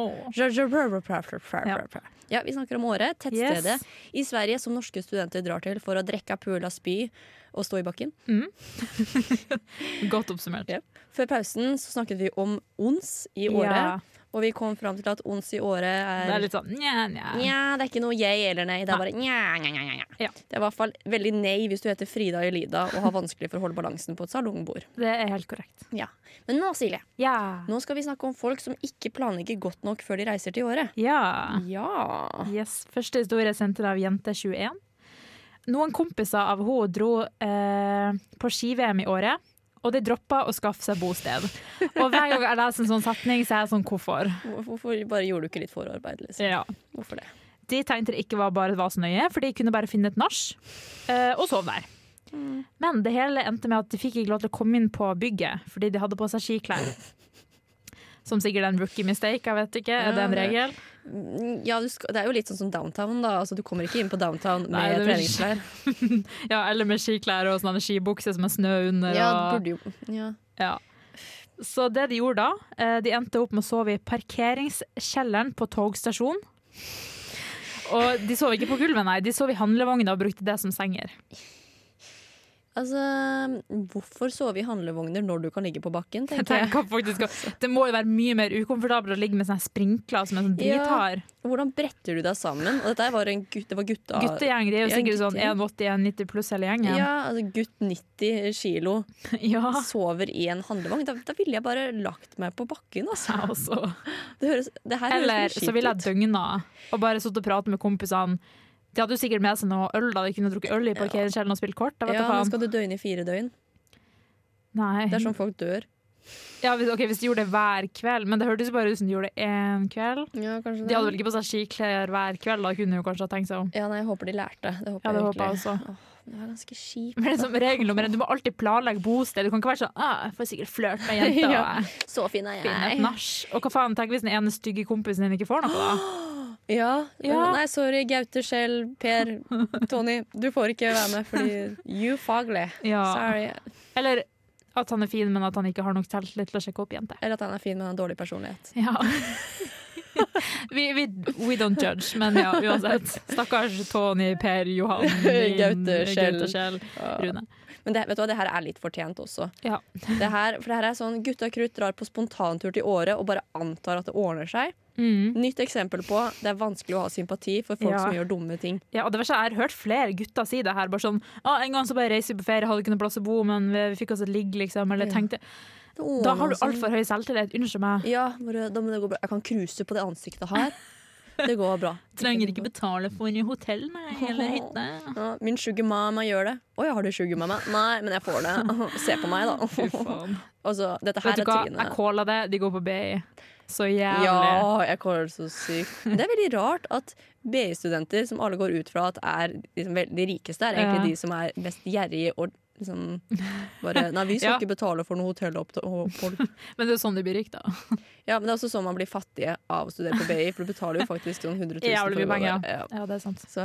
S1: Ja, vi snakker om Åre, tettstedet
S2: Yes.
S1: i Sverige som norske studenter drar til for å drikke, pule, spy og stå i bakken.
S2: Godt oppsummert.
S1: Ja. Før pausen så snakket vi om ons i Åre,
S2: Ja,
S1: og vi kom fram til at ons i Åre er,
S2: det er litt sånn nja, nja.
S1: Nja, det er ikke noe jeg eller nei. Det er bare nja, nja, nja, nja.
S2: Ja.
S1: Det er i hvert fall veldig nei hvis du heter Frida Elida og har vanskelig for å holde balansen på et salongbord.
S2: Det er helt korrekt.
S1: Ja. Men nå, Silje,
S2: Ja.
S1: nå skal vi snakke om folk som ikke planlegger godt nok før de reiser til Åre.
S2: ja.
S1: Ja.
S2: Yes. Første historie er sendt til av jente21. Noen kompiser av henne dro eh, på ski-VM i året, og de droppa å skaffe seg bosted. Og hver gang jeg leser en sånn setning, så er jeg sånn hvorfor?
S1: Hvorfor bare gjorde du ikke litt forarbeid? Liksom?
S2: Ja.
S1: Hvorfor det?
S2: De tenkte det ikke var bare var så nøye, for de kunne bare finne et nach eh, og sove der.
S1: Mm.
S2: Men det hele endte med at de fikk ikke lov til å komme inn på bygget fordi de hadde på seg skiklær. Som sikkert er en rookie mistake, jeg vet ikke. Er det en
S1: Ja, det-
S2: regel?
S1: Ja, du skal, det er jo litt sånn som downtown, da. Altså, du kommer ikke inn på downtown med
S2: Nei, det blir-
S1: treningsklær.
S2: Ja, eller med skiklær og sånne skibukser som er snø under.
S1: Ja,
S2: og-
S1: du burde jo ja.
S2: Ja. Så det de gjorde da, eh, de endte opp med å sove i parkeringskjelleren på togstasjonen. Og de sov ikke på gulvet, nei. De sov i handlevogna og brukte det som senger.
S1: Altså, hvorfor sove i handlevogner når du kan ligge på bakken,
S2: Jeg
S1: tenker jeg.
S2: tenker faktisk at Det må jo være mye mer ukomfortabelt å ligge med sånne sprinkler som er sånn
S1: Ja.
S2: drithard.
S1: Hvordan bretter du deg sammen? Og dette her var en gutt, det var gutta...
S2: Guttegjeng, de er jo
S1: Ja,
S2: sikkert sånn
S1: guttegjeng.
S2: 1,80-1,90 pluss hele gjengen.
S1: Ja, altså gutt 90 kilo
S2: Ja,
S1: sover i en handlevogn. Da, da ville jeg bare lagt meg på bakken, altså.
S2: jeg også.
S1: Det, høres, det her
S2: Eller
S1: høres litt
S2: så ville jeg
S1: skitt ut.
S2: døgna og bare sittet og pratet med kompisene. De hadde jo sikkert med seg noe øl, da de kunne drukket øl i parkeringskjelleren og spilt kort. Da vet
S1: Ja,
S2: du
S1: men
S2: faen.
S1: skal du døgne i fire døgn?
S2: Nei.
S1: Det er sånn folk dør.
S2: Ja, hvis, ok, hvis de gjorde det hver kveld, men det hørtes jo bare ut som de gjorde det én kveld.
S1: Ja, kanskje
S2: De hadde vel ikke på seg skiklær hver kveld, da kunne de jo kanskje ha tenkt seg om.
S1: Ja, nei, jeg håper de lærte. Det håper
S2: Ja, det
S1: jeg
S2: håper jeg
S1: virkelig.
S2: også.
S1: Det var ganske kjipt.
S2: Men det er som regel nummer én, du må alltid planlegge bosted. Du kan ikke være sånn ah, 'Jeg får sikkert flørte med jenta og
S1: Ja.
S2: jeg
S1: Så fin er
S2: finner et
S1: jeg.
S2: nach'. Og hva faen, tenk hvis den ene stygge kompisen din ikke får noe, da?
S1: Ja.
S2: Ja.
S1: Nei, sorry, Gaute, Skjell, Per, Tony. Du får ikke være med fordi You faglig.
S2: Ja.
S1: Sorry.
S2: Eller at han er fin, men at han ikke har nok selvtillit til å sjekke opp jenter.
S1: Eller at han er fin, men har dårlig personlighet.
S2: Ja. vi, vi, we don't judge, men ja, uansett. Stakkars Tony, Per, Johan, Linn,
S1: Gaute, Kjell.
S2: Gaute, Kjell, Rune.
S1: Men det, vet du hva, det her er litt fortjent også.
S2: Ja.
S1: Det her, for det her er sånn gutta krutt drar på spontantur til Åre og bare antar at det ordner seg.
S2: Mm.
S1: Nytt eksempel på det er vanskelig å ha sympati for folk
S2: Ja.
S1: som gjør dumme ting.
S2: ja, og det verste er, Jeg har hørt flere gutter si det her. bare sånn, ah, 'En gang så bare reiste vi på ferie, hadde ikke noe plass å bo, men vi, vi fikk oss et ligg', liksom. Eller tenkte, Da har du altfor høy selvtillit. Unnskyld meg.
S1: Ja, bare, da må det gå bra. Jeg kan cruise på det ansiktet her. Det går bra.
S2: Trenger ikke betale for hotell, nei, eller hytte.
S1: Ja, min sugar mama gjør det. Å ja, har du sugar mama? Nei, men jeg får det. Se på meg,
S2: Fy
S1: da.
S2: faen.
S1: Altså, dette her
S2: Vet du
S1: er
S2: hva, jeg
S1: trynet.
S2: calla det, de går på BI. Så jævlig.
S1: Ja, jeg kåler det så sykt. Men Det er veldig rart at BI-studenter, som alle går ut fra at er liksom, vel- de rikeste, er egentlig
S2: Ja.
S1: de som er mest gjerrige og liksom bare Nei, vi skal
S2: Ja.
S1: ikke betale for noe hotellopphold.
S2: Men det er sånn de blir rike, da.
S1: Ja, men det er også sånn man blir fattige av å studere på BI, for du betaler jo faktisk sånn 100 000
S2: Jævlig mye
S1: for å gå
S2: penger,
S1: der. Ja.
S2: Ja, det er sant.
S1: Så,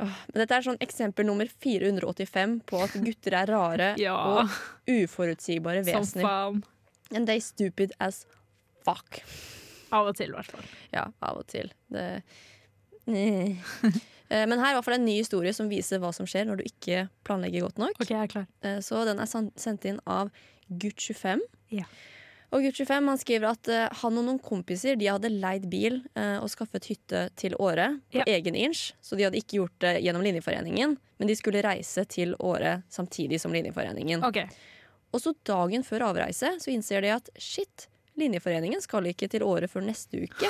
S1: åh, men dette er sånn eksempel nummer 485 på at gutter er rare
S2: Ja,
S1: og uforutsigbare
S2: som
S1: vesener.
S2: faen.
S1: And they stupid as fuck.
S2: Av og til, i hvert fall.
S1: Ja, av og til. Det Eh. Eh, Men her er i hvert fall en ny historie som viser hva som skjer når du ikke planlegger godt nok.
S2: OK, jeg er klar.
S1: Eh, Så den er san- sendt inn av Gutt25.
S2: Ja.
S1: Og Gutt25 han skriver at eh, han og noen kompiser de hadde leid bil eh, og skaffet hytte til Åre på
S2: Ja.
S1: egen inch. Så de hadde ikke gjort det gjennom Linjeforeningen, men de skulle reise til Åre samtidig som Linjeforeningen.
S2: OK.
S1: Og så dagen før avreise så innser de at shit, Linjeforeningen skal ikke til Åre før neste uke.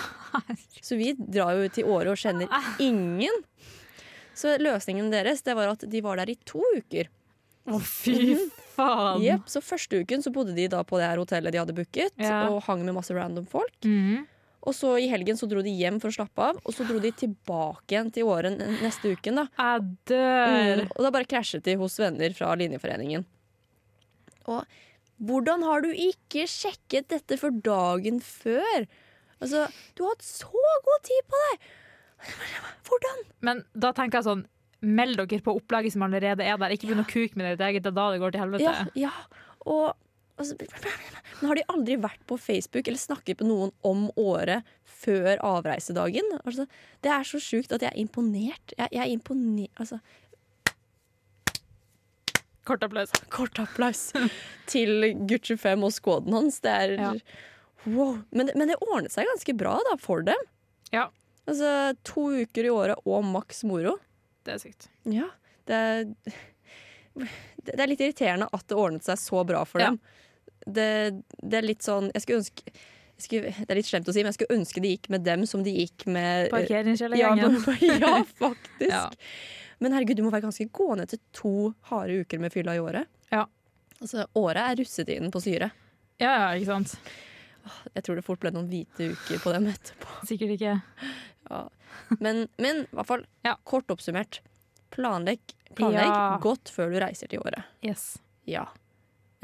S1: Så vi drar jo til Åre og kjenner ingen. Så løsningen deres det var at de var der i to uker.
S2: Å, fy faen.
S1: Jep, så første uken så bodde de da på det her hotellet de hadde booket,
S2: Ja.
S1: og hang med masse random folk.
S2: Mhm.
S1: Og så i helgen så dro de hjem for å slappe av, og så dro de tilbake igjen til Åre n- neste uken, da.
S2: Jeg dør.
S1: Mm, og da bare krasjet de hos venner fra linjeforeningen. Og hvordan har du ikke sjekket dette for dagen før? Altså, du har hatt så god tid på deg! Hvordan?
S2: Men da tenker jeg sånn Meld dere på opplaget som allerede er der. Ikke begynn å kuke med ditt eget. Det er da det går til
S1: Ja,
S2: helvete.
S1: ja. Og altså, Men har de aldri vært på Facebook eller snakket med noen om året før avreisedagen? Altså, det er så sjukt at jeg er imponert. Jeg, jeg er imponert altså,
S2: Kort applaus.
S1: kort applaus til Gucci 5 og skåden hans. Det er
S2: Ja.
S1: wow. Men, men det ordnet seg ganske bra da, for dem.
S2: Ja.
S1: Altså to uker i året og maks moro.
S2: Det er sykt.
S1: Ja. Det er, det det er litt irriterende at det ordnet seg så bra for
S2: Ja.
S1: dem. Det, det er litt sånn Jeg skulle ønske jeg skulle, Det er litt slemt å si, men jeg skulle ønske det gikk med dem som det gikk med Eh, ja,
S2: Parkeringskjellergjengen.
S1: men- ja, faktisk.
S2: Ja.
S1: Men herregud, du må være ganske gående til to harde uker med fylla i året.
S2: Ja.
S1: Altså, året er russetiden på syre.
S2: Ja, ja, ikke sant.
S1: Jeg tror det fort ble noen hvite uker på dem etterpå.
S2: Sikkert ikke.
S1: Ja. Men, men i hvert fall,
S2: Ja.
S1: kort oppsummert, planlegg, planlegg
S2: Ja.
S1: godt før du reiser til året.
S2: Yes.
S1: Ja.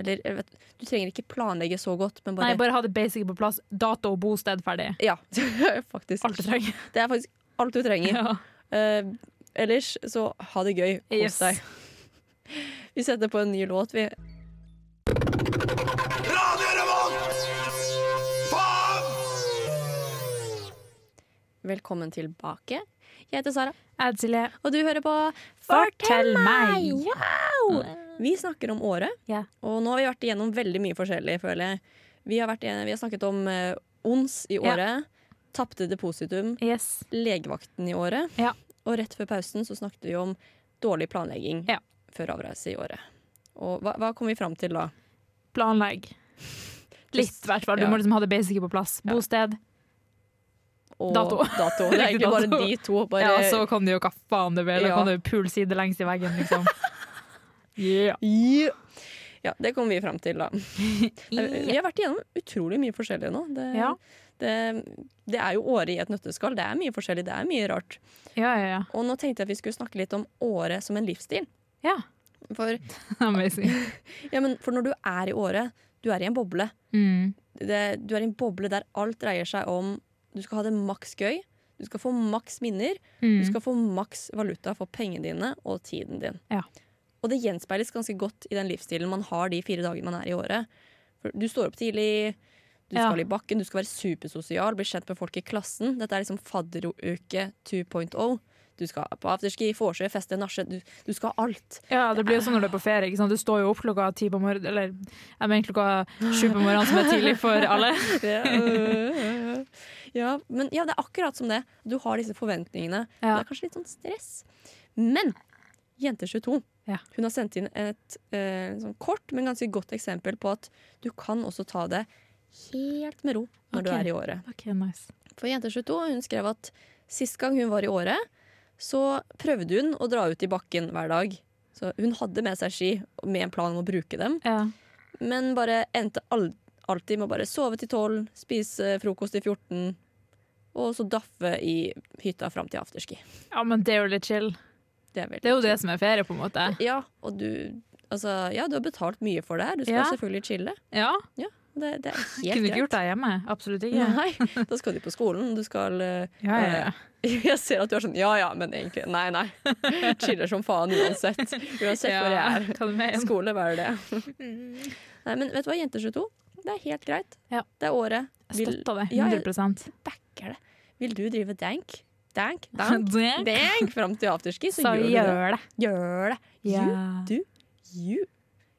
S1: Eller jeg vet, du trenger ikke planlegge så godt, men bare
S2: Nei, bare ha det basic på plass. Dato og bosted ferdig.
S1: Ja, faktisk.
S2: Alt du trenger.
S1: Det er faktisk alt du trenger.
S2: Ja.
S1: Eh, ellers så ha det gøy. Kos
S2: Yes.
S1: deg. Vi setter på en ny låt, vi. Velkommen tilbake. Jeg heter Sara,
S2: Jeg heter Silje.
S1: og du hører på
S2: Fortell meg!
S1: Wow! Vi snakker om året,
S2: Ja.
S1: og nå har vi vært igjennom veldig mye forskjellig, føler jeg. Vi har, vært, igjen- vi har snakket om eh, ons i
S2: Ja.
S1: året, tapte depositum,
S2: Yes.
S1: legevakten i året,
S2: Ja.
S1: og rett før pausen så snakket vi om dårlig planlegging
S2: Ja.
S1: før avreise i året. Og hva, hva kom vi fram til da?
S2: Planlegg. Litt, i hvert fall. Du
S1: Ja.
S2: må liksom ha det basice på plass. Bosted.
S1: Og
S2: Dato.
S1: dato. Det er
S2: Riktig
S1: egentlig bare
S2: dato.
S1: de to. Bare,
S2: Ja, så kan du jo hva faen du vil. Da
S1: Ja.
S2: kan du pule sidelengs i veggen, liksom. Yeah.
S1: Ja. ja, det kom vi fram til, da. Vi har vært igjennom utrolig mye forskjellig nå. Det,
S2: Ja.
S1: det, det er jo året i et nøtteskall. Det er mye forskjellig, det er mye rart.
S2: Ja, ja, ja.
S1: Og nå tenkte jeg at vi skulle snakke litt om året som en livsstil.
S2: Ja.
S1: For,
S2: Amazing.
S1: ja, men for når du er i året, du er i en boble.
S2: Mm.
S1: det, du er i en boble der alt dreier seg om Du skal ha det maks gøy, du skal få maks minner,
S2: Mm.
S1: du skal få maks valuta for pengene dine og tiden din.
S2: Ja.
S1: Og det gjenspeiles ganske godt i den livsstilen man har de fire dagene man er i året. For du står opp tidlig, du
S2: Ja.
S1: skal i bakken, du skal være supersosial, bli kjent med folk i klassen. Dette er liksom fadderuke 2.0. Du skal på afterski, vorse, feste, nachse. Du, du skal ha alt.
S2: Ja, det blir jo sånn når du er på ferie. Ikke sant? Du står jo opp klokka ti på morgenen, eller jeg mener klokka sju på morgenen, som er tidlig for alle.
S1: ja, men ja, det er akkurat som det. Du har disse forventningene.
S2: Ja.
S1: Det er kanskje litt sånn stress. Men Jente22
S2: Ja.
S1: Hun har sendt inn et eh, sånn kort, men ganske godt eksempel på at du kan også ta det helt med ro når du
S2: Ok.
S1: er i året.
S2: Ok, nice.
S1: For Jente22 hun skrev at sist gang hun var i året, så prøvde hun å dra ut i bakken hver dag. Så hun hadde med seg ski med en plan om å bruke dem
S2: Ja.
S1: men bare endte al alltid med å bare sove til 12, spise frokost til 14, og så daffe i hytta fram til afterski.
S2: ja, men det er jo litt chill.
S1: Det er veldig
S2: Det er jo det som er ferie, på en måte.
S1: Ja, og du, altså, ja, du har betalt mye for det her. Du skal
S2: Ja.
S1: selvfølgelig chille.
S2: Ja,
S1: Det, det er helt
S2: Kunne ikke gjort
S1: greit.
S2: det hjemme. Absolutt ikke.
S1: Nei, da skal du på skolen. Du skal eh,
S2: Ja, ja, ja.
S1: Jeg ser at du er sånn ja ja, men egentlig nei, nei. Chiller som faen uansett. Uansett hvor jeg er.
S2: ta det med inn.
S1: Skole, hva er det? Nei, men vet du hva, jenter 22, det er helt greit.
S2: Mm. Ja.
S1: Det er året.
S2: Jeg støtter det,
S1: Ja, jeg-
S2: 100
S1: backer det. Vil du drive dank? Dank? Dank?
S2: Det
S1: dank fram til afterski, så,
S2: Så
S1: gjør du det.
S2: gjør det.
S1: Gjør det.
S2: Ja,
S1: You.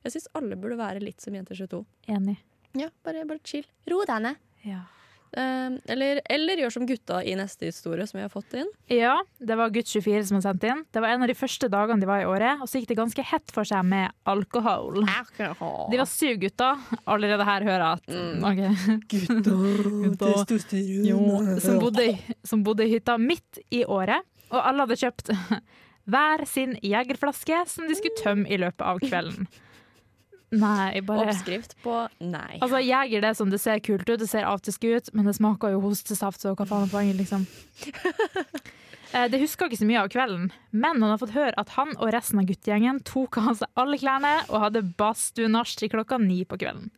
S1: Jeg syns alle burde være litt som Jenter 22.
S2: enig.
S1: Ja, bare, bare chill. Ro deg ned.
S2: Ja.
S1: Eh, eller, eller gjør som gutta i neste historie, som jeg har fått inn.
S2: Ja, det var gutt 24 som hadde sendt inn. Det var en av de første dagene de var i året, og så gikk det ganske hett for seg med alkohol. De var syv gutter. Allerede her hører jeg at ok. Gutter, jo, som, bodde, i- som bodde i hytta midt i året, og alle hadde kjøpt hver sin jegerflaske som de skulle tømme i løpet av kvelden. Nei, bare
S1: Oppskrift på nei.
S2: Altså, Jeger det er som det ser kult ut, det ser afterski ut, men det smaker jo hostesaft, så hva faen er poenget, liksom? Eh, Det husker ikke så mye av kvelden, men han har fått høre at han og resten av guttegjengen tok av seg alle klærne og hadde badstuenach til klokka ni på kvelden.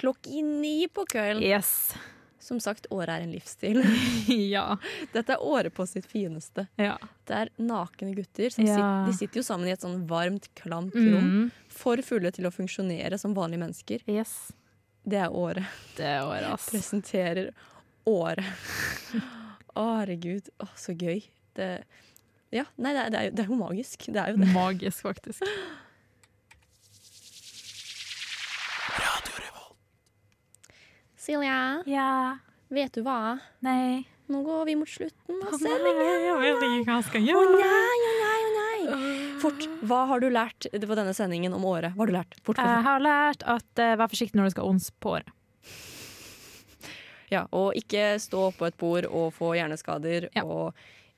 S1: Klokka ni på kvelden.
S2: Yes.
S1: Som sagt, året er en livsstil.
S2: Ja.
S1: Dette er året på sitt fineste.
S2: ja.
S1: Det er nakne gutter. Som
S2: Ja.
S1: sit- de sitter jo sammen i et sånn varmt, klamt rom.
S2: Mm.
S1: For fulle til å funksjonere som vanlige mennesker.
S2: Yes.
S1: Det er året.
S2: Det er året, ass.
S1: Presenterer året. Å, herregud. Å, så gøy. Det, ja, nei, det er, det, er jo, det er jo magisk. Det er jo det.
S2: Magisk, faktisk.
S1: Silje,
S2: Ja.
S1: vet du hva?
S2: Nei.
S1: Nå går vi mot slutten av
S2: Jeg vet ikke hva jeg skal
S1: Å
S2: gjøre.
S1: nei, å nei, å nei! Fort, hva har du lært på denne sendingen om året? Hva har du lært? Fort, fort,
S2: Jeg har lært at eh, vær forsiktig når du skal ons på året.
S1: fort. Ja, og ikke stå på et bord og få hjerneskader.
S2: Ja.
S1: Og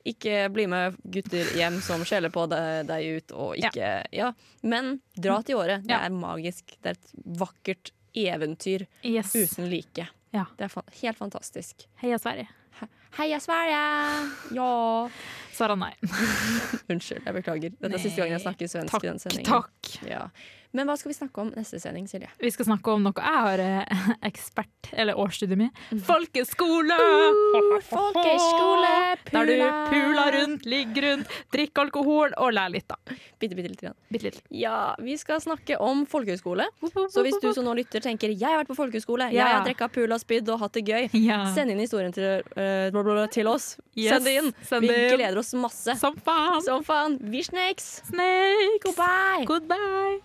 S1: ikke bli med gutter hjem som skjeller på deg, deg ut. Og
S2: Ja.
S1: ikke, ja. Men dra til året. Det
S2: Ja.
S1: er magisk. Det er et vakkert eventyr
S2: Yes.
S1: uten like.
S2: Ja.
S1: Det er fa helt fantastisk.
S2: Heia Sverige.
S1: Heia Sverige! Ja.
S2: Sara, nei.
S1: Unnskyld, jeg beklager. Dette er siste gang jeg snakker svensk i den
S2: Takk,
S1: sendingen.
S2: takk.
S1: Ja. Men hva skal vi snakke om neste sending, Silje?
S2: Vi skal snakke om noe jeg har eh, ekspert, eller årsstudiet mitt. Folkeskole!
S1: Folkeskole,
S2: Der du
S1: pula.
S2: puler rundt, ligger rundt, drikker alkohol og lærer litt, da.
S1: Bitte, bitte lite grann.
S2: Bitte litt.
S1: Ja, vi skal snakke om folkehøyskole. Så hvis du som nå lytter tenker 'jeg har vært på folkehøyskole', 'jeg
S2: Ja.
S1: har drekka pul og spydd og hatt det gøy',
S2: Ja.
S1: send inn historien til, eh, bla, bla, bla, til oss.
S2: Yes,
S1: Send det inn.
S2: send
S1: vi
S2: det inn. Sånn.
S1: gleder oss masse.
S2: Som faen!
S1: Som faen. Vi snakes.
S2: Snakes!
S1: Goodbye.
S2: Goodbye!